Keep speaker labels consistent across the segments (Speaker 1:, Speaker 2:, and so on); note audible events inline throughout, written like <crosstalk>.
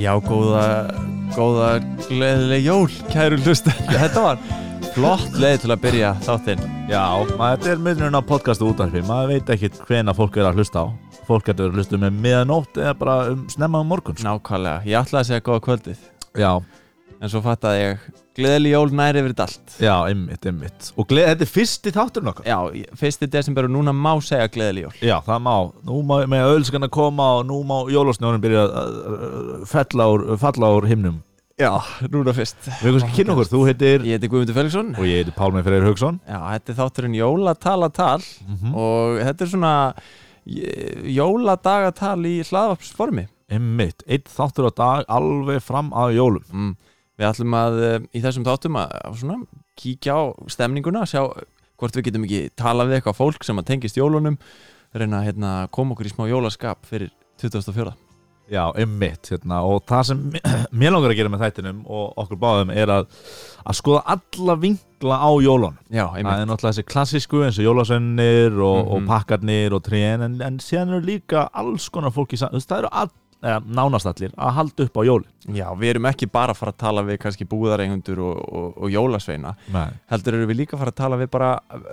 Speaker 1: Já, góða, góða, gleðileg jól, kæru hlusta. <laughs> Þetta var flott leið til að byrja þáttinn.
Speaker 2: Já, maður, þetta er myndurinn á podcastu útarfi maður veit ekki hvena fólk er að hlusta á fólk getur að hlusta með miðanótt eða bara um snemma um morgun sko.
Speaker 1: Nákvæmlega, ég ætlaði að segja góða kvöldið,
Speaker 2: Já,
Speaker 1: en svo fattaði ég gleðileg jól næri yfir þetta allt.
Speaker 2: já, ymmit, ymmit og gleð, þetta er fyrsti þátturinn okkar
Speaker 1: Já, ég- fyrsti desember og núna má segja gleðileg jól.
Speaker 2: Já, það má, nú má með ölskan að koma og nú má jólasnjórin byrja að að fella úr, falla úr himnum
Speaker 1: Já, núna fyrst.
Speaker 2: Við kannski kynna okkur, þú heitir
Speaker 1: Ég heiti Guðmundur Felixson.
Speaker 2: og ég heiti Pálmi Freyr Haugsson
Speaker 1: Já, þetta er þátturinn jólatalatal og þetta er svona j- jóladagatal í hlaðvarpsformi.
Speaker 2: Ymmit, eitt þáttur á dag alveg fram að jólum
Speaker 1: Mm. Við ætlum að eh, í þessum þáttum að að svona, kíkja á stemninguna, sjá hvort við getum ekki tala við eitthvað fólk sem að tengist jólunum, reyna að hérna, koma okkur í smá jólaskap fyrir 2004.
Speaker 2: Já, ymmit, hérna, og það sem <clears throat> mér langar að gera með þættinum og okkur báðum er að, að skoða alla vinkla á jólun
Speaker 1: Já,
Speaker 2: Það
Speaker 1: einmitt.
Speaker 2: er náttúrulega þessi klassísku eins og jólasönnir og, og
Speaker 1: Mhm.
Speaker 2: pakkarnir og trén en, en síðan eru líka alls konar fólki sam- þú veist, það eru all, eða, nánast allir að halda upp á jóli
Speaker 1: Já, við erum ekki bara að fara að tala við kannski búðarengundur og, og, og jólasveina,
Speaker 2: Nei,
Speaker 1: heldur erum við líka að fara að tala við bara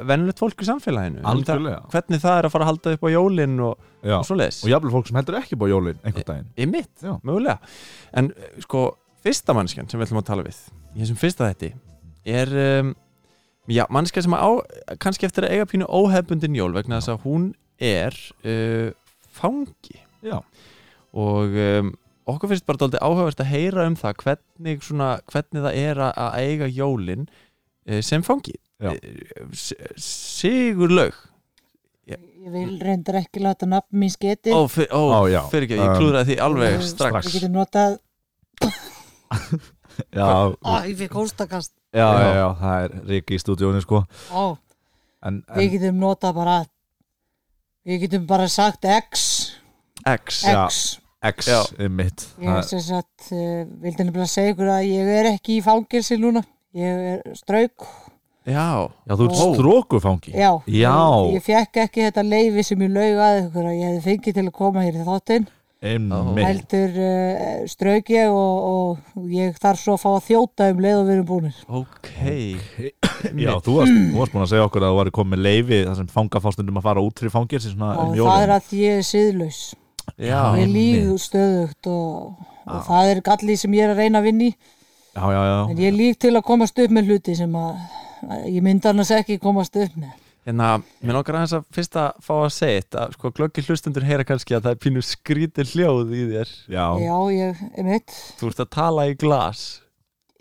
Speaker 1: vennlegt fólk í samfélaginu.
Speaker 2: algjörlega
Speaker 1: Það- Hvernig það er að fara að halda upp á jólin og,
Speaker 2: Já.
Speaker 1: og svoleiðis.
Speaker 2: Og jafnvel fólk sem heldur ekki upp á jólin einhvern daginn
Speaker 1: Í mitt,
Speaker 2: Já.
Speaker 1: mögulega En eh, sko, fyrsta mannskjan sem við ætlum að tala við Í þessum fyrsta þætti Er, um, já, mannskja sem á Kannski eftir að eiga pínu óhefbundin jól Vegna þess að hún er uh, Fangi
Speaker 2: Já.
Speaker 1: Og um, okkur finnst bara dálítið áhugavert að heyra um það Hvernig, svona, hvernig það er að- að eiga jólin uh, Sem fangi Eh,
Speaker 2: Já.
Speaker 1: Sigur lög
Speaker 3: Ég vil reyndar ekki láta nafn mín sketi.
Speaker 1: Ó, fyr, ó,
Speaker 2: Ó, já.
Speaker 1: fyrir ekki, ég
Speaker 2: Um,
Speaker 1: klúðraði því alveg
Speaker 3: Mm,
Speaker 1: strax
Speaker 3: Við getum notað,
Speaker 2: Já,
Speaker 3: ó, ég fikk hóstakast,
Speaker 2: já,
Speaker 1: já.
Speaker 2: já, já, það er ríki í stúdíónu sko
Speaker 3: ó,
Speaker 2: en, en,
Speaker 3: við getum notað bara, við getum bara sagt X,
Speaker 1: X
Speaker 2: Já.
Speaker 3: X.
Speaker 2: X
Speaker 1: Já.
Speaker 2: er mitt
Speaker 3: Ég sem sagt, uh, vildi nefnilega segja ykkur að ég er ekki í fangelsi núna, ég er strauk,
Speaker 1: Já,
Speaker 2: Já, þú ert
Speaker 3: Ó.
Speaker 2: strókufangi
Speaker 3: já.
Speaker 2: Já.
Speaker 3: Ég, ég fekk ekki þetta leifi sem ég laug að ykkur að ég hefði fengið til að koma hér í þáttinn,
Speaker 2: einmitt
Speaker 3: heldur uh, strauk ég og, og ég þarf svo að fá að þjóta um leið og við erum búinir.
Speaker 1: ok
Speaker 2: Já, þú varst,
Speaker 3: Mm.
Speaker 2: þú varst búin að segja okkur að þú væri komið með leifi þar sem fangafástundum að fara út fyrir fangir svona um
Speaker 3: Og það er
Speaker 2: jólin
Speaker 3: að ég er siðlaus.
Speaker 1: Já,
Speaker 3: Ég
Speaker 2: Einmitt.
Speaker 3: líg stöðugt og, og það er galli sem ég er að reyna að vinni
Speaker 2: Já, já, já
Speaker 3: en ég líg til að komast upp með hluti sem að, að ég myndi annars ekki komast upp með
Speaker 1: hérna, mér langar aðeins að fyrst að fá að segja þetta, sko, glöggi hlustundur heyra kannski að það er pínu skrítið hljóð í þér
Speaker 2: Já,
Speaker 3: Já, ég, einmitt
Speaker 1: þú ert að tala í glas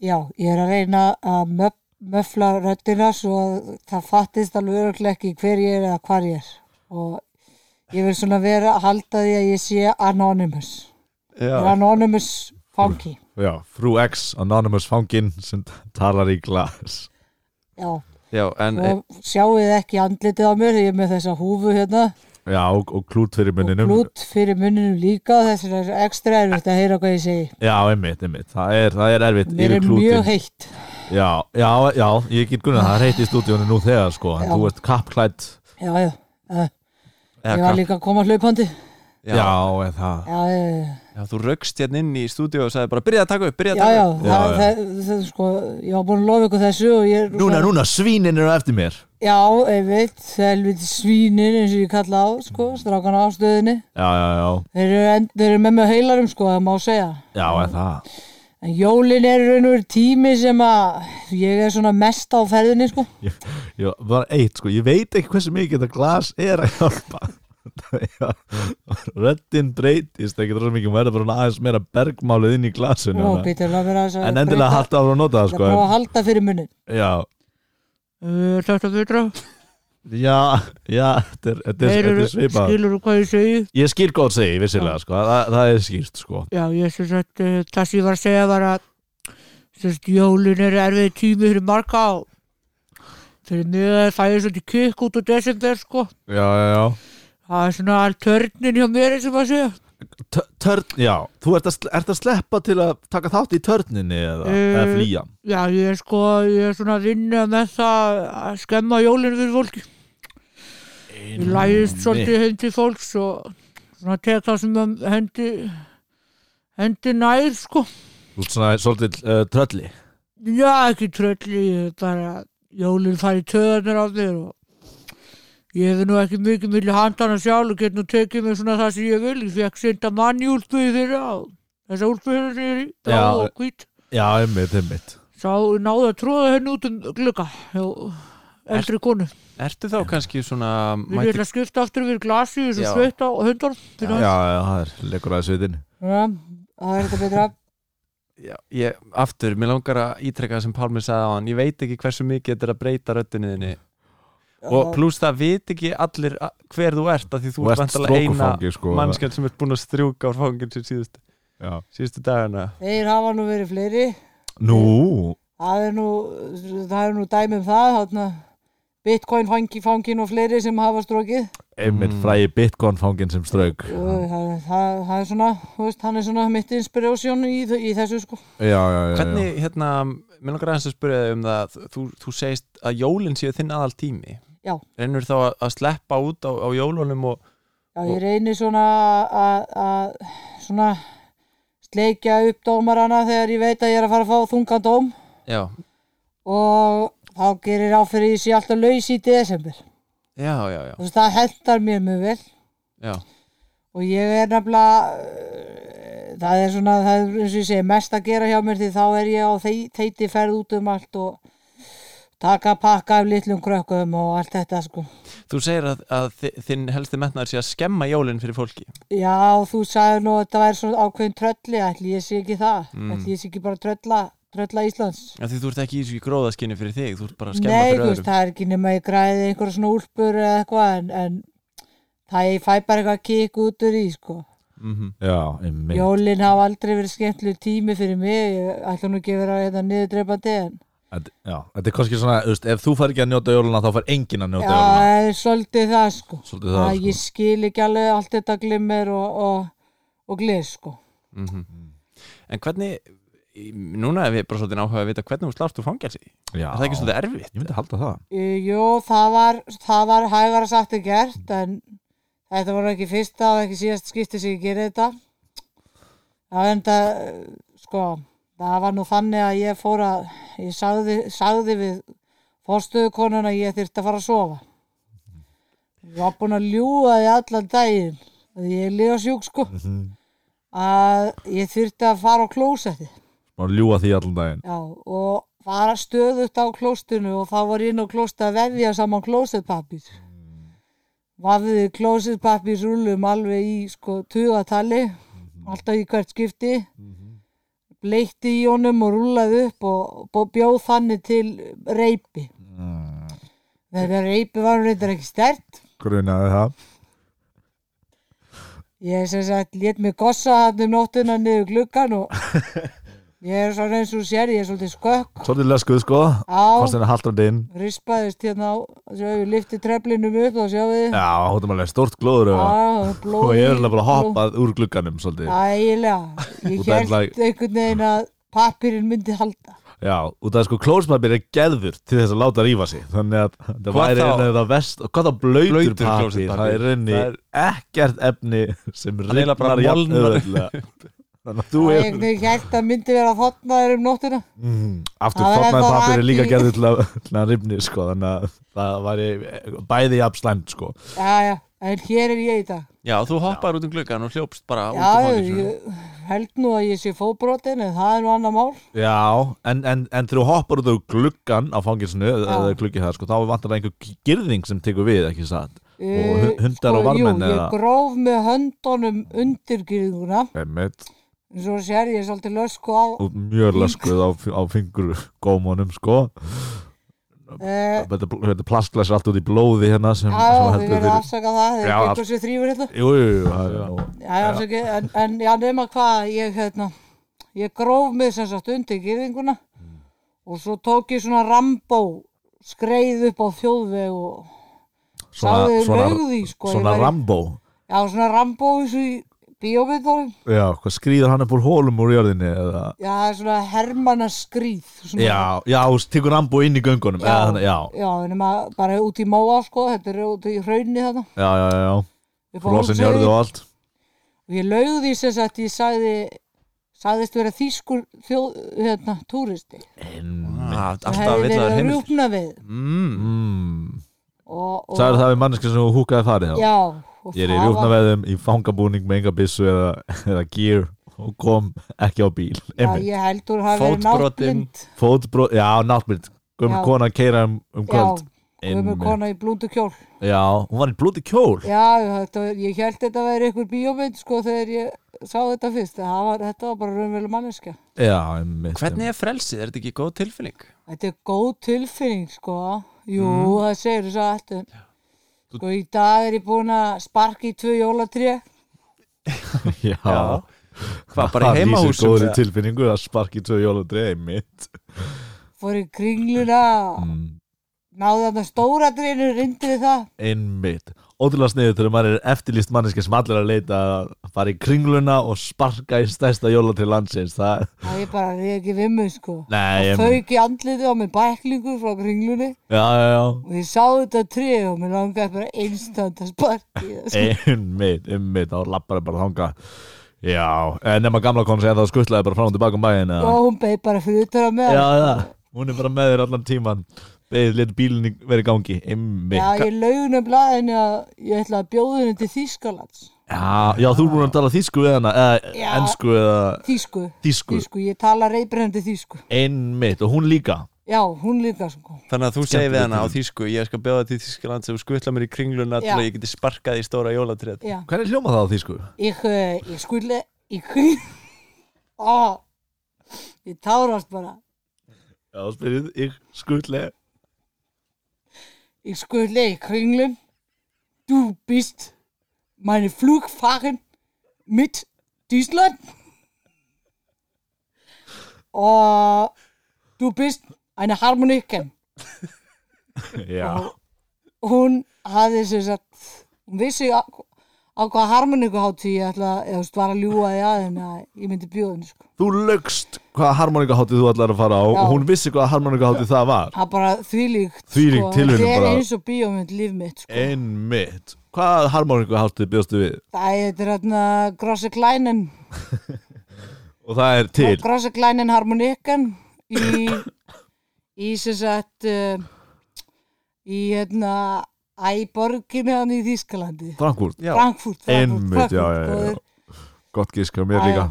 Speaker 3: Já, ég er að reyna að möf, möfla röddina svo að það fattist alveg öruglega ekki hver ég er eða hvar ég er og ég vil svona vera að halda því að ég sé anonymous Ég er
Speaker 1: Já,
Speaker 3: Anonymous fangi
Speaker 2: já, frú X, anonymous fangin sem talar í glas
Speaker 3: Já,
Speaker 1: já en e,
Speaker 3: og sjáuð ekki andlitið á mér ég er með þessa húfu hérna
Speaker 2: Já, og, og klút fyrir munninum
Speaker 3: og glút fyrir munninum líka þess að það er ekstra erfitt að heyra hvað ég segi
Speaker 2: Já, einmitt, einmitt, það er, það er erfitt yfir
Speaker 3: mér er
Speaker 2: klútinn.
Speaker 3: mjög heitt
Speaker 2: Já, já, já, ég get gunnað, það er heitt í stúdíónu nú þegar sko, en
Speaker 3: Já.
Speaker 2: þú ert kappklætt
Speaker 3: já, já, uh, ég
Speaker 1: e, eða,
Speaker 3: var líka að koma hlaupandi
Speaker 1: já,
Speaker 2: Já,
Speaker 1: já,
Speaker 2: en það
Speaker 3: já, já,
Speaker 1: já, þú raukst hérna inn í stúdíu og sagði bara, byrja að taka upp, byrja
Speaker 3: já,
Speaker 1: að
Speaker 3: já,
Speaker 1: taka upp
Speaker 2: Já,
Speaker 3: það,
Speaker 2: já.
Speaker 3: það, það, sko, ég var búin að lofa ykkur þessu og ég er
Speaker 2: Núna, núna, svínin eru eftir mér
Speaker 3: já, einmitt, helviti svínin eins og ég kalla á, sko, strákan á stöðinni
Speaker 2: Já, já, já,
Speaker 3: þeir eru, en, þeir eru með mig á heilarum, sko, það má segja
Speaker 2: já, en það
Speaker 3: en jólin er raun og veru tími sem að ég er svona mest á ferðinni, sko
Speaker 2: Ég, ég var eitt sko, ég veit ekki hversu mikið þetta glas er að hjálpa Já, Röddin breytist ekki þrósum mikið, maður er bara aðeins meira bergmálið inn í glasinu
Speaker 3: og
Speaker 2: hana.
Speaker 3: býtur að vera þess að
Speaker 2: En endilega
Speaker 3: breyta-
Speaker 2: halda ára að nota það
Speaker 3: að
Speaker 2: sko
Speaker 3: prófa
Speaker 2: en-
Speaker 3: að halda fyrir munnin
Speaker 2: Já,
Speaker 3: Þetta betra
Speaker 2: já, já, þetta er, þetta er, þetta er svipað
Speaker 3: skilur þú hvað ég segi?
Speaker 2: Ég skil góð segi, vissilega, sko, það, það er skýrt, sko
Speaker 3: Já, ég sem sagt, eh, það sem ég var að segja var að sem sagt, jólin er erfið tími fyrir marga og fyrir mig að það er svolítið kikk út á desember, sko.
Speaker 2: Já, já, já
Speaker 3: Það er svona all törnin hjá mér, eins og maður segja.
Speaker 2: Tö- Törn, já, þú ert að, sl- ert að sleppa til að taka þátt í törninni eða,
Speaker 3: Eh,
Speaker 2: eða flýja
Speaker 3: Já, ég er sko, ég er svona að vinna með það að skemma jólinu fyrir fólki. Ég læðist svolítið heim til fólks og svona tek það sem að hendi Endi nær sko
Speaker 2: Þú ert svona svolítið uh, trölli
Speaker 3: Já, ekki trölli, ég bara jólinn fari töðanir á þér og ég hefði nú ekki mikið milli handana sjálf og get nú tekið mig svona það sem ég vil ég fekk senda mann í úlpuði þeirra og þessa úlpuði þeirra sem ég er í blá
Speaker 2: Já.
Speaker 3: og hvít
Speaker 2: Já, einmitt, einmitt
Speaker 3: sá náði að tróða henni út um glugga hjá eldri konu
Speaker 1: Ertu þá kannski svona
Speaker 3: við erum
Speaker 1: mæti,
Speaker 3: að skipta aftur við glasi þessu
Speaker 1: Já.
Speaker 3: sveitt á hundunum
Speaker 2: Já, já, það er leikur aðeins við þinn
Speaker 3: það er þetta betra
Speaker 1: já, ég, Aftur, mér langar að ítreka sem Pálmi sagði á hann Ég veit ekki hversu mikið þetta er að breyta röddinniðinni Og pluss það veit ekki allir a- hver þú ert af Því þú
Speaker 2: Þú
Speaker 1: ert
Speaker 2: ert
Speaker 1: vantalega eina
Speaker 2: strókufangi sko
Speaker 1: mannskjöld sem ert búin að strjúka á fangin sem síðustu,
Speaker 2: Já.
Speaker 1: síðustu dagana
Speaker 3: þeir hafa nú verið fleiri
Speaker 2: Nú,
Speaker 3: það er nú, það er nú dæmi um það þarna, bitcoin fangi fangin og fleiri sem hafa strókið
Speaker 2: einmitt
Speaker 1: Mm.
Speaker 2: frægi bitcoin fangin sem strauk
Speaker 3: og það, það, það er svona þú veist, hann er svona mitt inspiration í, í þessu sko
Speaker 2: Já, já, já, já.
Speaker 1: Hvernig, hérna, mér langar aðeins að spyrja þig um það þú, þú segist að jólinn séu þinn aðal tími
Speaker 3: Já.
Speaker 1: Reynur þá að, að sleppa út á, á jólunum og
Speaker 3: já, ég reyni svona að- að svona sleikja upp dómarana þegar ég veit að ég er að fara að fá þungan dóm
Speaker 1: Já,
Speaker 3: og þá gerir áfyrir ég sé alltaf laus í desember
Speaker 1: já, já, já,
Speaker 3: þú veist, það hendar mér mjög vel
Speaker 1: já.
Speaker 3: og ég er nefnilega eh, það er svona, það er eins og ég segi mest að gera hjá mér því þá er ég á þey- þeiti ferð út um allt og taka pakka af litlum krökkum og allt þetta sko
Speaker 1: Þú segir að, að þi- þinn helsti metnaður sé að skemma jólinn fyrir fólki
Speaker 3: Já, þú sagði nú að þetta væri svona ákveðin trölli, ætli ég sé ekki það,
Speaker 1: Mm.
Speaker 3: ætli ég sé ekki bara trölla, trölla Íslands.
Speaker 1: Af Því þú ert ekki í þessu í gróðaskinni fyrir þig Þú ert bara að skemma
Speaker 3: Nei,
Speaker 1: fyrir
Speaker 3: þú veist,
Speaker 1: öðrum
Speaker 3: það er ekki nema ég græði einhverja svona úlpur eða eitthvað, en, en það ég fæ bara eitthvað kikk út úr í, sko.
Speaker 1: mm
Speaker 2: já, einmitt
Speaker 3: Jólin hafa aldrei verið skemmtlu tími fyrir mig, ég ætla nú ekki að vera hérna niðurdreipandi, en
Speaker 2: Þetta- Já, þetta er kannski svona, þú veist, ef þú fær ekki að njóta jóluna þá fær enginn að njóta
Speaker 3: já,
Speaker 2: jóluna
Speaker 3: það er svolítið það, sko.
Speaker 2: Svolítið það,
Speaker 3: Að
Speaker 2: sko.
Speaker 3: Ég skil ekki alveg allt þetta glimmer og, og, og glis, sko.
Speaker 1: En hvernig, í- núna er við bara svolítið áhuga að vita hvernig þú slást úr fangelsi
Speaker 2: Já,
Speaker 1: Er það ekki svolítið erfitt?
Speaker 2: Ég myndi halda það
Speaker 3: Uh, Jú, það var, það var hægara sagt en gert en þetta var nú ekki fyrsta og ekki síðast skipti sem ég gerði þetta. Það enda, uh, sko, það var nú þannig að ég fór að, ég sagði, sagði við fórstöðukonuna að ég þyrfti að fara að sofa. Ég var búin að ljúga því allan daginn, að ég er líka sjúk, sko, að ég þyrfti að fara á klósetti.
Speaker 2: Má ljúa því allan daginn
Speaker 3: Já, og var stöðugt á klóstinu og þá var ég inn á klósti að vefja saman klósetpapir. Vafði klósetpapir rúlum alveg í sko tugatali, alltaf í hvert skipti. Bleikti í honum og rúlaði upp og og bjóð þannig til reypi. Þegar reypi var reyndar ekki stert.
Speaker 2: Grunaði það
Speaker 3: Ég sem sagt lét mig gossa hann um nóttuna niður gluggan og ég er svona eins og þú sér, ég er svolítið skökk.
Speaker 2: Svolítið leskuð sko
Speaker 3: Á,
Speaker 2: Fannst henni haldandi inn
Speaker 3: rispaðist hérna á sjáum við lifti treflinum upp og sjáum við
Speaker 2: Já, hún er alveg stórt glóður og
Speaker 3: og
Speaker 2: og ég er alveg bara hoppað úr glugganum svolítið
Speaker 3: ægilega,
Speaker 2: Út
Speaker 3: ég
Speaker 2: af
Speaker 3: held
Speaker 2: lag-
Speaker 3: einhvern veginn að pappirinn myndi halda
Speaker 2: Já, út af sko klóspapir er geðvur til þess að láta rífa sig þannig að það
Speaker 1: Hvað
Speaker 2: væri
Speaker 1: þá?
Speaker 2: einu það vest og hvað þá blöytur,
Speaker 1: Blautur
Speaker 2: papir
Speaker 1: klósettpappír.
Speaker 2: það er einu
Speaker 1: Það
Speaker 2: ekkert efni sem
Speaker 1: er eiginlega bara
Speaker 2: rifnar jafn
Speaker 1: molnar
Speaker 2: <laughs> auðveldlega. þannig að þú
Speaker 3: og
Speaker 2: er
Speaker 3: einhvern veginn held að myndi vera þotnaður um nóttina
Speaker 2: mm, aftur
Speaker 3: Það er
Speaker 2: þarnaði
Speaker 3: ennþá
Speaker 2: papir er líka
Speaker 3: raki.
Speaker 2: geðvur til að, til að rifni sko, þannig að það væri bæði jafn slæmt sko.
Speaker 3: já, já, en hér er ég í dag
Speaker 1: Já, þú hoppar út um gluggan og hljópst bara út úr
Speaker 3: já,
Speaker 1: fangelsinu
Speaker 3: ég held nú að ég sé fóbrotin en það er nú annar mál
Speaker 2: Já, en, en, en þegar þú hoppar út á gluggan á fangilsinu, eða
Speaker 3: Já.
Speaker 2: eða gluggi það, sko, þá vantar það einhver girðing sem tekur við, ekki satt? Og
Speaker 3: Uh,
Speaker 2: hu- hundar og varmenn
Speaker 3: jú, ég
Speaker 2: eða-
Speaker 3: gróf með höndunum undirgyrðinguna
Speaker 2: Einmitt.
Speaker 3: eins og þú sér ég er svolítið lösku á
Speaker 2: og sko, mjög laskuð á, á fingur gómanum sko
Speaker 3: uh,
Speaker 2: þetta, þetta plastglas er allt út í blóði hérna sem,
Speaker 3: já,
Speaker 2: sem
Speaker 3: við verðum að
Speaker 2: fyrir
Speaker 3: afsaka það
Speaker 2: Já,
Speaker 3: það er
Speaker 2: allt-
Speaker 3: einhver sem þrýfur hérna
Speaker 2: Jú, jú, jú, það er nú-
Speaker 3: Já, já, afsakið, en, en já, nema hvað, ég, hérna, ég gróf mig sem sagt undir gyrðinguna og svo tók ég svona rambó, skreið upp á þjóðveg og sáði lögði, sko. ég
Speaker 2: svona
Speaker 3: væri-
Speaker 2: Rambo
Speaker 3: Já, svona rambó eins og í bíómyndunum.
Speaker 2: já, hvað skrýður hann upp úr hólum úr jörðinni eða
Speaker 3: Já, það er svona hermanna skrýð. Svona,
Speaker 2: Já, já, þú tekur Rambo inn í göngunum
Speaker 3: já,
Speaker 2: eða þannig,
Speaker 3: já.
Speaker 2: já,
Speaker 3: nema bara út í móa, sko, þetta er út í hraunni þarna.
Speaker 2: já, já, já, já.
Speaker 3: upp á
Speaker 2: Rosin
Speaker 3: Hólmsheiði.
Speaker 2: jörðu og allt
Speaker 3: Og ég laugði sem sagt, ég sagði sagðist vera þýskur þjóð, hérna, túristi
Speaker 2: Einmitt.
Speaker 1: Ah,
Speaker 3: og
Speaker 1: alltaf
Speaker 3: hefði
Speaker 1: vill
Speaker 3: verið
Speaker 1: að
Speaker 3: að
Speaker 1: heimil
Speaker 3: rjúpna við
Speaker 1: mm.
Speaker 2: Mm.
Speaker 3: og, og,
Speaker 2: Sagði það við manneska sem þú húkaði farið þá
Speaker 3: já, og
Speaker 2: Ég er í
Speaker 3: það var-
Speaker 2: rjúfnaveðum, í fangabúning með enga byssu eða, eða gear og kom ekki á bíl
Speaker 3: Já,
Speaker 2: Einmitt.
Speaker 3: ég heldur að hafa verið
Speaker 1: Fótbrotin.
Speaker 3: náttblind
Speaker 2: Fótbrot, já, náttmynd Gömur
Speaker 3: Já.
Speaker 2: kona að keira um, um kvöld
Speaker 3: Já, gömur
Speaker 2: Einmitt.
Speaker 3: kona í blúndu kjól
Speaker 2: Já, hún var í blóti kjól
Speaker 3: Já, þetta, var- ég held þetta væri einhver bíómynd sko þegar ég sá þetta fyrst það var, þetta var bara raunveruleg manneska
Speaker 2: Já, einmitt
Speaker 1: Hvernig er frelsið? Er þetta ekki góð tilfinning?
Speaker 3: Þetta er góð tilfinning sko Jú,
Speaker 2: Mhm.
Speaker 3: það segir þess að allt um. Sko í dag er ég búin að sparka í tvö jólatré
Speaker 2: einmitt. <laughs> Já,
Speaker 1: Hvað, bara
Speaker 2: Það
Speaker 1: í
Speaker 2: lýsir
Speaker 1: heimahúsum?
Speaker 2: góðri
Speaker 1: eða?
Speaker 2: tilfinningu að sparki tvö jóladrei einmitt
Speaker 3: fór í kringluna
Speaker 2: mm.
Speaker 3: náði þarna stóra drénu rindi við það
Speaker 2: einmitt ótrúlega sniður þegar maður er eftirlýst manneski sem allir er að leita að fara í kringluna og sparka í stærsta jólatri landsins það,
Speaker 3: það er bara reyð ekki vimmu sko
Speaker 2: nei,
Speaker 3: og fauk í andliði á mig bæklingur frá kringlunni
Speaker 2: já, já, já
Speaker 3: og ég sá þetta tré og mér langaði bara einstönd að sparka í það sko.
Speaker 2: einmitt, einmitt, þá lappar það bara þanga já, en nema gamla kon segja það skuttlaði bara frá og tilbaka um bæin
Speaker 3: Já,
Speaker 2: eða?
Speaker 3: hún beig bara fyrir utan á mig.
Speaker 2: já, já, hún er bara með þér allan tíman beðið lit bílinni verið í gangi
Speaker 3: Já,
Speaker 2: einmitt,
Speaker 3: ég laugun um blaðinu að ég ætla að bjóða henni til Þýskalands.
Speaker 2: já, já, þú er búin að tala þýsku við hana,
Speaker 3: Já.
Speaker 2: eða ensku eða
Speaker 3: Þýsku.
Speaker 2: þýsku,
Speaker 3: Þýsku, ég tala reybrennandi þýsku.
Speaker 2: einmitt og hún líka
Speaker 3: Já, hún líka sko.
Speaker 1: Þannig að þú segir við hana á þýsku Ég skal bjóða til Þýskaland sem skutla mér í kringluna til
Speaker 3: Já.
Speaker 1: að ég geti sparkað í stóra jólatrið
Speaker 3: Já,
Speaker 2: hvernig hljóma það á þýsku?
Speaker 3: ég, eh, ég skule, ég <laughs> skule, á, ég tárast bara.
Speaker 2: Já, spyrðið, ég skuttlega
Speaker 3: Ég skule í kringlum, du bist meine Flugfarin mit Deutschland. Og du bist eine Harmonikken.
Speaker 2: Já,
Speaker 3: hún hafði sem sagt hún vissi á, á hvað harmoniku hátíð ég ætla eða þú veist, var að ljúga því að henni að ég myndi bjóða henni sko.
Speaker 2: þú lögst hvaða harmoníkaháttið þú ætlar að fara á
Speaker 3: Já.
Speaker 2: og hún vissi hvaða harmoníkaháttið það var
Speaker 3: það er bara þvílíkt
Speaker 2: Þvílík
Speaker 3: sko.
Speaker 2: tilviljun
Speaker 3: þetta er
Speaker 2: bara.
Speaker 3: eins og bíómynd líf mitt sko.
Speaker 2: Einmitt Hvaða harmoníkaháttið bjóstu við?
Speaker 3: það er þetta hérna Grosse Kleinen
Speaker 2: Og það er til
Speaker 3: Grosse Kleinen harmonikan í í sem sagt uh, í hérna æ borginni hann í Þýskalandi
Speaker 2: Frankfurt
Speaker 1: Já.
Speaker 3: Frankfurt, Frankfurt,
Speaker 2: Einmitt, já, já, já,
Speaker 3: góður.
Speaker 2: já Gott gíska mér
Speaker 3: Já,
Speaker 2: líka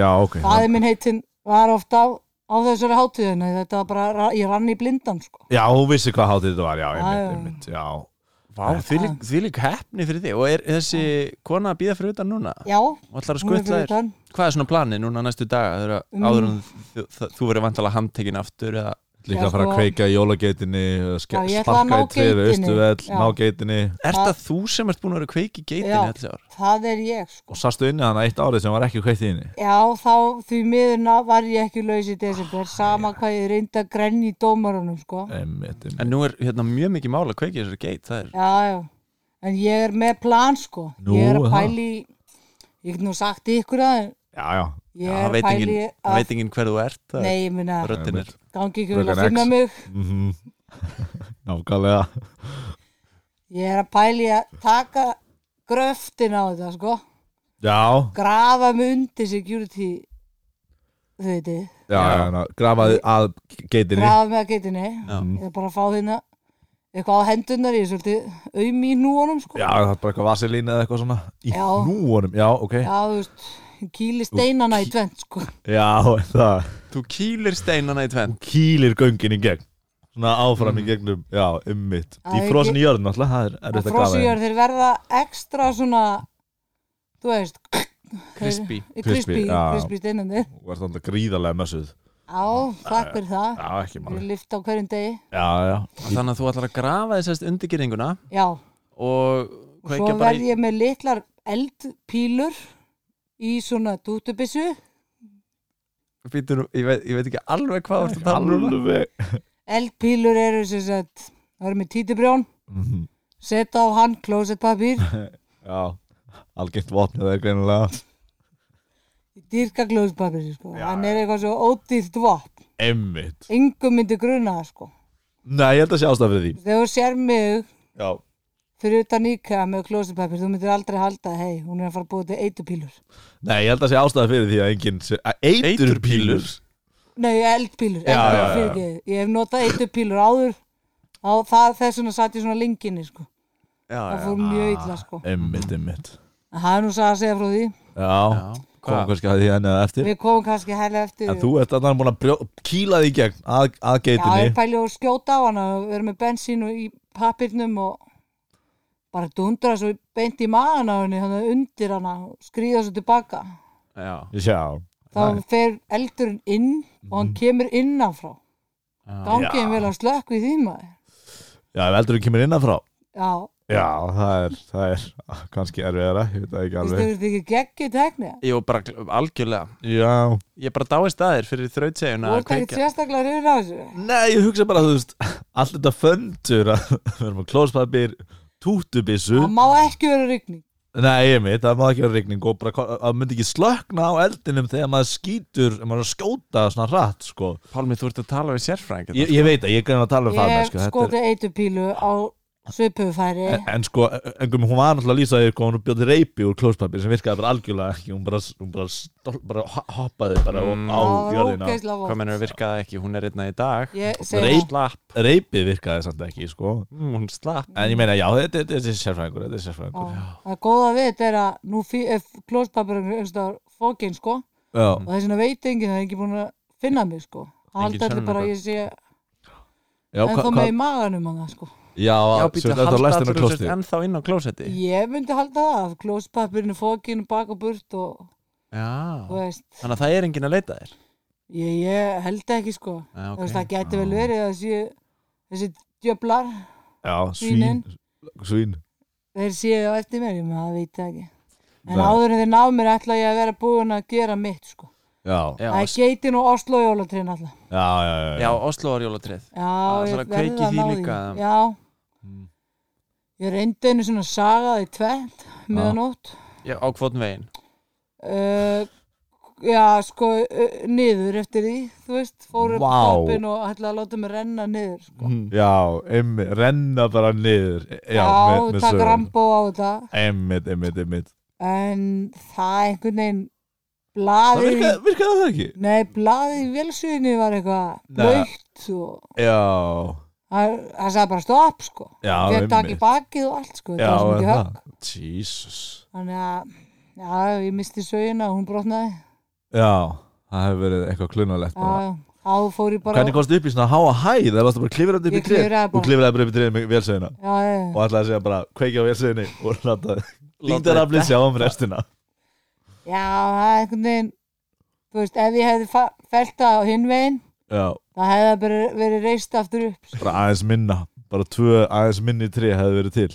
Speaker 2: Já, ok
Speaker 3: Faði minn heitinn var ofta á, á þessari hátíðinu, þetta var bara, ég rann í blindan sko.
Speaker 2: Já, hún vissi hvaða háttið þetta var, já,
Speaker 3: Já, já.
Speaker 2: einmitt, einmitt Já,
Speaker 1: Vá, því
Speaker 3: Ah.
Speaker 1: lík, því lík hefni fyrir þig Og er þessi kona að býða fyrir utan núna?
Speaker 3: Já,
Speaker 1: Og ætlar að
Speaker 3: hún er
Speaker 1: skutla
Speaker 3: fyrir
Speaker 1: þér?
Speaker 3: utan.
Speaker 1: Hvað er svona planið núna næstu daga? Þegar
Speaker 3: Mm.
Speaker 1: mm. áður en þú, það- þú verður vantala handtekinn aftur eða
Speaker 2: líka
Speaker 3: Já,
Speaker 2: að fara að
Speaker 3: sko.
Speaker 2: kveika í jólageitinni
Speaker 3: Já, ég ætla að
Speaker 2: Sparka
Speaker 3: ná
Speaker 2: í trefi,
Speaker 3: geitinni.
Speaker 2: austu vell,
Speaker 3: Já.
Speaker 2: ná geitinni
Speaker 1: Er
Speaker 3: Það-
Speaker 1: það þú sem ert búin að vera að kveiki í
Speaker 3: Já.
Speaker 1: geitinni alls ár?
Speaker 3: Það er ég sko.
Speaker 2: Og sastu inni þannig eitt árið sem var ekki kveikt í henni
Speaker 3: Já, þá því miðurna var ég ekki laus í desember, sama hvað ég reyndi að grenni í dómarunum sko.
Speaker 2: Einmitt, einmitt
Speaker 1: En nú er hérna mjög mikið mál að kveiki í þessari geit Það er,
Speaker 3: Já, já, en ég er með plan sko.
Speaker 2: Nú,
Speaker 3: ég er að
Speaker 2: það.
Speaker 3: pæli, ég get nú sagt ykkur að
Speaker 2: Já, já,
Speaker 1: já,
Speaker 3: ég
Speaker 1: það
Speaker 3: er að
Speaker 1: veit
Speaker 3: pæli
Speaker 1: enginn- það
Speaker 3: að,
Speaker 1: veit enginn hver þú ert það
Speaker 3: nei, ég minna,
Speaker 1: er Röddin er
Speaker 3: gangi ekki vel að
Speaker 2: Röggan X.
Speaker 3: finna mig.
Speaker 2: mhm <laughs> Nákvæmlega
Speaker 3: Ég er að pæli að taka gröftin á þetta sko.
Speaker 2: Já,
Speaker 3: grafa mig undir security þau veitu,
Speaker 2: já, já, já grafaði að geitinni
Speaker 3: grafa mig að getinni
Speaker 1: Já.
Speaker 3: eða bara fá hérna eitthvað á hendunar, ég er svolítið auðm í núanum sko,
Speaker 2: Já, það er bara eitthvað vaselín eða eitthvað svona Í
Speaker 3: Já.
Speaker 2: hnúunum, já, ok Já,
Speaker 3: Já, þú veist kýli steinana í tvent sko
Speaker 2: er það
Speaker 1: Þú kýlir steinana í tvenn
Speaker 2: Kýlir göngin í gegn Svona áfram í gegnum, já, ummitt
Speaker 3: Mm.
Speaker 2: Í
Speaker 3: Já, ég
Speaker 2: frosin í jörðin alltaf, það er
Speaker 3: að
Speaker 2: erfitt að grafa
Speaker 3: frosíjar þeir verða ekstra svona þú veist,
Speaker 1: Crispy
Speaker 3: í crispy,
Speaker 2: Crispy, já.
Speaker 3: crispy steinandi
Speaker 2: Þú ert þannig gríðarlega mössuð
Speaker 3: Já, takk fyrir það
Speaker 2: Já, ekki
Speaker 3: Ég
Speaker 2: máli
Speaker 3: lift á hverjum degi
Speaker 2: Já, já,
Speaker 1: Þannig að þú ætlar að grafa þessast undirgerninguna
Speaker 3: Já,
Speaker 1: og
Speaker 3: svo
Speaker 1: kveikja bara í
Speaker 3: verð ég með litlar eldpílur í svona dútubissu
Speaker 1: Býtur, ég, veit, ég veit ekki alveg hvað þú ert að tala um núna.
Speaker 2: alveg
Speaker 3: Eldpílur eru sem sagt, það eru með títubrjón,
Speaker 2: Mhm.
Speaker 3: setja á hann
Speaker 2: <laughs>
Speaker 3: klósettpapír,
Speaker 2: Já, algengt vopnið eða greinilega
Speaker 3: dýrka klósettpapír, sko.
Speaker 2: Já,
Speaker 3: hann er eitthvað svo ódýrt vopn,
Speaker 2: Emmitt
Speaker 3: engum myndi gruna það, sko.
Speaker 2: Nei, ég held að sé ástæða fyrir því
Speaker 3: Þegar þú sér mig
Speaker 2: Já,
Speaker 3: fyrir utan IKEA með klósipapir, þú myndir aldrei halda hei, hún er að fara að búa til eitupílur
Speaker 2: Nei, ég held að sé ástæða fyrir því að enginn sé- að Eiturpílur
Speaker 1: Eiturpílur?
Speaker 3: Nei, eldpílur,
Speaker 2: Já, já, já.
Speaker 3: eldpílur já, ég hef notað eitupílur áður á það þess vegna satt ég svona lenginni sko.
Speaker 1: já,
Speaker 3: það
Speaker 1: já,
Speaker 3: fór mjög illa sko.
Speaker 2: Einmitt, einmitt
Speaker 3: en það er nú satt að segja frá því
Speaker 1: já.
Speaker 2: Já, komum
Speaker 1: Hvað?
Speaker 2: kannski að því henni að eftir
Speaker 3: við komum kannski hæglega eftir
Speaker 2: En þú ert að búin að brjó- kýla því gegn að, að
Speaker 3: já, ég
Speaker 2: geitinni
Speaker 3: pæli og skjóta á hana við erum með bensín og í papirnum og bara dundra svo beint í maðan á henni þannig að undir hana og skrýða svo tilbaka
Speaker 1: já,
Speaker 2: Ég sjá
Speaker 3: þá fer eldurinn inn og hann kemur innanfrá
Speaker 2: Mhm. Já.
Speaker 3: gangiðin vel að slökk við því maður
Speaker 2: Já, ef eldurinn kemur innanfrá
Speaker 3: já,
Speaker 2: Já, það er, það er kannski erfiðara, ég veit það ekki
Speaker 3: þú
Speaker 2: alveg
Speaker 3: veist ekki geggið tekni
Speaker 1: Ég var bara gl- algjörlega
Speaker 2: Já
Speaker 1: Ég bara dáist aðeir fyrir þrautsegjuna
Speaker 3: þú
Speaker 1: að
Speaker 3: ert ekki
Speaker 1: kveikja.
Speaker 3: sérstaklega hrifin á þessu
Speaker 2: Nei, ég hugsa bara, þú veist, allt þetta föndur að <laughs> við erum að klóspapir, tútubissu
Speaker 3: það má ekki vera rigning
Speaker 2: Nei, ég mitt, það má ekki vera rigning og bara, það myndi ekki slökna á eldinum þegar maður skýtur, ef maður er að skjóta svona hratt, sko
Speaker 1: Pálmi, þú ert að tala við sérfræðing
Speaker 2: Ég, ég veit að ég er grein að tala um
Speaker 3: ég
Speaker 2: það með,
Speaker 3: hef
Speaker 2: sko, þetta er
Speaker 3: skotið eitupílu á svipufæri
Speaker 2: En, en sko, en hún var náttúrulega að lýsa því hvað hún bjóði reypi úr klóspapir sem virkaði bara algjörlega ekki, hún bara, hún bara, stol, bara ho- hoppaði bara
Speaker 1: Mm.
Speaker 2: á
Speaker 3: það var
Speaker 2: jörðina
Speaker 3: ógeðslega
Speaker 1: Hvað
Speaker 3: vond
Speaker 1: mennur að virka það ekki, hún er einna í dag
Speaker 3: ég segi það.
Speaker 1: Slapp,
Speaker 2: Reypi virkaði samt ekki, sko
Speaker 1: Mm, hún slapp
Speaker 2: En ég meina, já, þetta, þetta, þetta er sérfræðingur, þetta er
Speaker 3: Já.
Speaker 2: sérfræðingur.
Speaker 3: Það góða við þetta er að nú fí- er klóspapirinn einstaklega fókinn sko og
Speaker 2: Já.
Speaker 3: þess vegna veit enginn það er ekki búin að finna mig sko.
Speaker 1: Engin
Speaker 3: Það haldi allir bara að ég sé
Speaker 2: Já,
Speaker 3: en
Speaker 2: hva,
Speaker 3: þá
Speaker 2: hva,
Speaker 3: með í maganum á það sko.
Speaker 2: já,
Speaker 1: Já,
Speaker 2: sem
Speaker 1: býttu
Speaker 2: þetta
Speaker 1: að
Speaker 2: var
Speaker 1: halda
Speaker 2: læst hennar
Speaker 1: allir
Speaker 2: klosti.
Speaker 1: klostið Ennþá inn á klósetti
Speaker 3: Ég myndi halda það að klóspapirinn er fókinn bak og burt og þú
Speaker 1: Já,
Speaker 3: veist,
Speaker 1: þannig að það er enginn að leita þér
Speaker 3: ég, ég held ekki sko.
Speaker 1: Já,
Speaker 3: Okay.
Speaker 1: ok.
Speaker 3: Veist, það geti vel verið að séu þessi djöflar
Speaker 2: Já, svín,
Speaker 3: Svínin.
Speaker 2: svín.
Speaker 3: þeir séu á eftir mér, ég með það veit það ekki. En
Speaker 2: Nei.
Speaker 3: áður en þeir ná mér ætla ég að vera búin að gera mitt sko.
Speaker 2: Já, já,
Speaker 1: Já,
Speaker 3: það er geitin og Oslo jólatrinn alltaf.
Speaker 2: já, já.
Speaker 1: já Oslo var jólatrið
Speaker 3: Já,
Speaker 1: Það
Speaker 3: ég
Speaker 1: þarf að
Speaker 3: verði
Speaker 1: kveikja í
Speaker 3: að
Speaker 1: því
Speaker 3: ná því
Speaker 1: líka. Mm.
Speaker 3: Já Ég reyndi einu svona sagaði tvent meðanótt
Speaker 1: Já, á kvotn veginn
Speaker 3: uh, Já, sko uh, niður eftir því, þú veist fór upp
Speaker 2: Vá.
Speaker 3: toppin og ætlaði að láta mig renna niður sko.
Speaker 2: Já, einmitt, renna bara niður. Já, með, með
Speaker 3: takk
Speaker 2: sögur.
Speaker 3: rambó á þetta
Speaker 2: Einmitt, einmitt, einmitt.
Speaker 3: en það einhvern veginn
Speaker 2: Það
Speaker 3: blaðið
Speaker 2: virkaði, virkaði það ekki?
Speaker 3: Nei, blaðið í vélsuginni var eitthvað
Speaker 2: Nei.
Speaker 3: blöitt og
Speaker 2: Já,
Speaker 3: það það sagði bara stopp sko
Speaker 2: já,
Speaker 3: Fékk
Speaker 2: einmitt.
Speaker 3: takk í bakið og allt sko
Speaker 2: Já,
Speaker 3: þetta var svo
Speaker 2: er
Speaker 3: mikið högg.
Speaker 2: það. Jesus.
Speaker 3: Þannig að, já, ég misti söguna, hún brotnaði.
Speaker 2: Já, það hefur verið eitthvað klunalegt
Speaker 3: Já,
Speaker 2: bara.
Speaker 3: já, þá fór ég bara,
Speaker 2: Hvernig komst upp í svona háa hæð? Það varst bara klifrandi upp í
Speaker 3: Ég
Speaker 2: trið.
Speaker 3: klifraði
Speaker 2: Þú
Speaker 3: bara.
Speaker 2: klifraði bara upp í trið með vélsögina.
Speaker 3: já, já, já.
Speaker 2: og ætlaði að segja bara kveikja á vélsöðinni og láta
Speaker 1: þau
Speaker 2: lítaraflið sjá um
Speaker 3: <laughs>
Speaker 2: restina
Speaker 3: já, það er einhvern veginn, þú veist, ef ég hefði fa- fellt það á hinn veginn,
Speaker 2: já,
Speaker 3: það hefði það bara verið reist aftur upp.
Speaker 2: bara aðeins minna bara tvö aðeins minni tré hefði verið til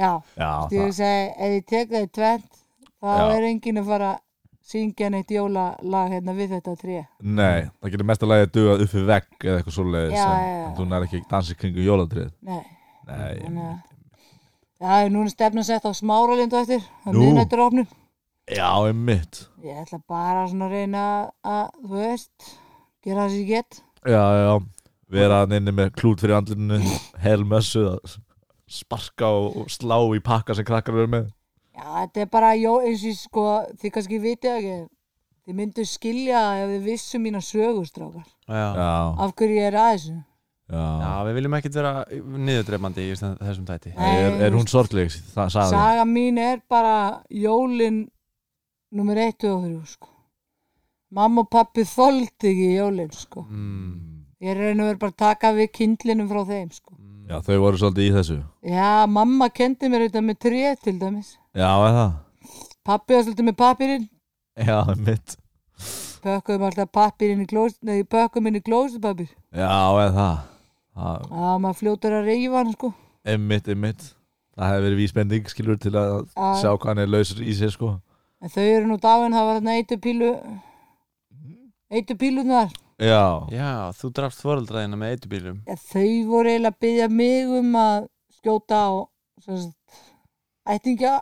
Speaker 3: Já,
Speaker 2: já,
Speaker 3: þú
Speaker 2: það,
Speaker 3: veist, ef ég tek það í tvent, þá
Speaker 2: Já.
Speaker 3: er enginn að fara að syngja neitt jólalag hérna við þetta tré.
Speaker 2: nei, það getur mest að lægja dugað upp við vegg eða eitthvað svoleiðis
Speaker 3: Mm. Já,
Speaker 2: en,
Speaker 3: já, já.
Speaker 2: en þú nær ekki dansi kringu jólatrið
Speaker 3: Nei,
Speaker 2: nei,
Speaker 3: þannig að, já, en núna er stefnan sett á smáralindu eftir, að
Speaker 2: Nú.
Speaker 3: miðnættur opnum.
Speaker 2: já, einmitt
Speaker 3: Ég ætla bara svona að reyna að, þú veist, gera það sem ég get.
Speaker 2: já, já, vera hann inni með klút fyrir andlinu, helmössu að sparka og og slá í pakka sem krakkar verður með
Speaker 3: Já, þetta er bara, jó, eins og ég, sko, þið kannski vitið ekki, þið myndu skilja ef þið vissu mína sögustrákar,
Speaker 1: Já.
Speaker 2: já,
Speaker 3: af hverju ég er að þessu.
Speaker 1: Já,
Speaker 2: já
Speaker 1: við viljum ekkert vera niðurdreifandi í þessum tæti
Speaker 3: Nei,
Speaker 2: er, er hún sorgleg, það sagði hún.
Speaker 3: Saga mín er bara jólin nummer 1 og 3, sko. Mamma og pappi þoldi ekki jólin, sko.
Speaker 1: mm.
Speaker 3: Ég er reyna að vera bara að taka við kindlinum frá þeim, sko.
Speaker 2: já, þau voru svolítið í þessu
Speaker 3: Já, mamma kendi mér þetta með tré, til dæmis.
Speaker 2: já, er það
Speaker 3: Pappi var svolítið með pappirinn,
Speaker 2: Já, mitt
Speaker 3: pökkum alltaf pappirinn í glós, neði, pökkum inn í glósupapir.
Speaker 2: Já, eða það Það-
Speaker 3: Já, maður fljótur að reyfa hann, sko.
Speaker 2: Einmitt, einmitt Það hefði verið vísbending skilur til að
Speaker 3: Já.
Speaker 2: sjá hvað hann er lausur í sér sko
Speaker 3: En þau eru nú dáin, það var þarna eitu pílu eitu pílunar
Speaker 2: Já,
Speaker 1: Já, þú drafst fóröldræðina með eitubílum
Speaker 3: þau voru eiginlega að byggja mig um að skjóta á sem sagt, ættingja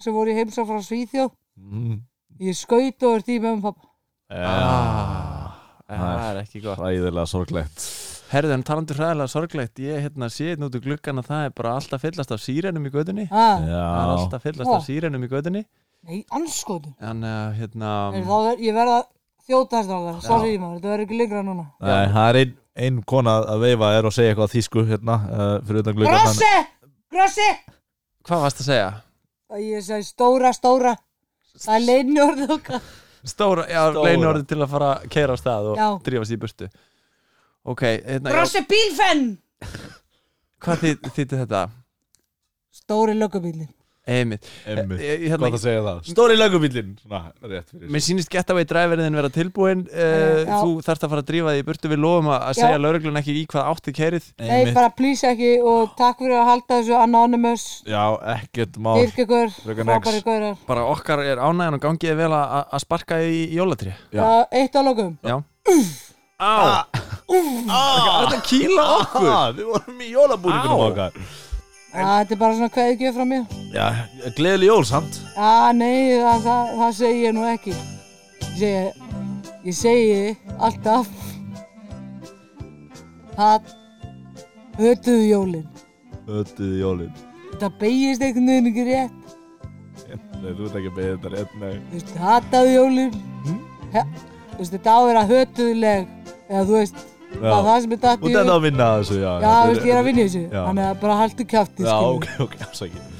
Speaker 3: sem voru í heimsá frá Svíþjóð
Speaker 2: Mm.
Speaker 3: ég skaut og er því með um pappa
Speaker 1: Ah.
Speaker 2: Já.
Speaker 1: Það er ekki gott
Speaker 2: Hræðilega sorglegt
Speaker 1: herðu en talandi hræðilega sorglegt ég hérna sé hérna út úr gluggan að það er bara alltaf fyllast af sírenum í gödunni
Speaker 3: Ha,
Speaker 1: það er
Speaker 2: Já,
Speaker 1: alltaf fyllast af
Speaker 3: Ó.
Speaker 1: sírenum í gödunni
Speaker 3: nei, anskotum.
Speaker 1: þannig að hérna
Speaker 3: Um. Þá, ver- ég verða þjóta stráðar, sorry maður, þetta verður ekki lengra núna.
Speaker 2: Nei, það er ein, ein kona að veifa er og segja eitthvað á þýsku hérna uh, fyrir utan glugga
Speaker 3: Grossi! Grossi!
Speaker 1: hvað varst að segja?
Speaker 3: Og ég segi stóra, stóra. Það er leinorð okkar.
Speaker 1: Stóra, já,
Speaker 2: Stóra.
Speaker 1: leinorði til að fara að keira á stað og
Speaker 3: Já.
Speaker 1: drífa sér í burtu ok, hérna, já,
Speaker 3: Grossi bílfenn!
Speaker 1: hvað þýtt- þýtti þetta?
Speaker 3: Stóri löggubílinn.
Speaker 1: Einmitt,
Speaker 2: Emmi,
Speaker 1: Ég- ég-
Speaker 2: hvað
Speaker 1: hérna,
Speaker 2: það segja það? Stóri lögubillin Svona, rétt fyrir
Speaker 1: Mér sýnist getaway driverinn vera tilbúin uh,
Speaker 3: Eh, já.
Speaker 1: Þú þarft að fara að drífa því í burtu Við lofum að að
Speaker 3: Já.
Speaker 1: segja lauruglun ekki í hvað átti kerið
Speaker 3: Nei,
Speaker 2: Einmitt.
Speaker 3: bara plís ekki og takk fyrir að halda þessu anonymous.
Speaker 2: Já, ekkert mál
Speaker 3: Virk ykkur,
Speaker 2: Fröken X.
Speaker 3: frábæri gaurar.
Speaker 1: Bara okkar er ánægjan og gangiði vel að að sparka í í jólatrí
Speaker 2: Já.
Speaker 3: Uh, eitt á lokum.
Speaker 1: Já Á
Speaker 3: Ah.
Speaker 1: Það er að kýla okkur
Speaker 2: Ah, Við vorum í
Speaker 1: Á.
Speaker 2: jólabúningunum okkar
Speaker 3: Ah, Þetta er bara svona kveðgjöf frá mér.
Speaker 2: Já, gleðileg jól samt
Speaker 3: Já, nei, það, það, það segi ég nú ekki. Ég segi, ég segi alltaf Það hötuðu jólin.
Speaker 2: Öttuð jólin
Speaker 3: Þetta beigist einhvern veginn ekki rétt.
Speaker 2: Nei, þú ert ekki að beða þetta rétt, nei
Speaker 3: Þú veist, hataðu jólin.
Speaker 2: Hmm?
Speaker 3: He, þú veist, þetta á að vera hötuðuleg. Eða þú veist, það er það sem er datt
Speaker 2: Þú ert ennþá að vinna að þessu, já
Speaker 3: Já, þú veist, ég er að vinna í þessu.
Speaker 2: Já.
Speaker 3: Þannig að bara haldu kjátti,
Speaker 2: Já, ok, ok, afsakið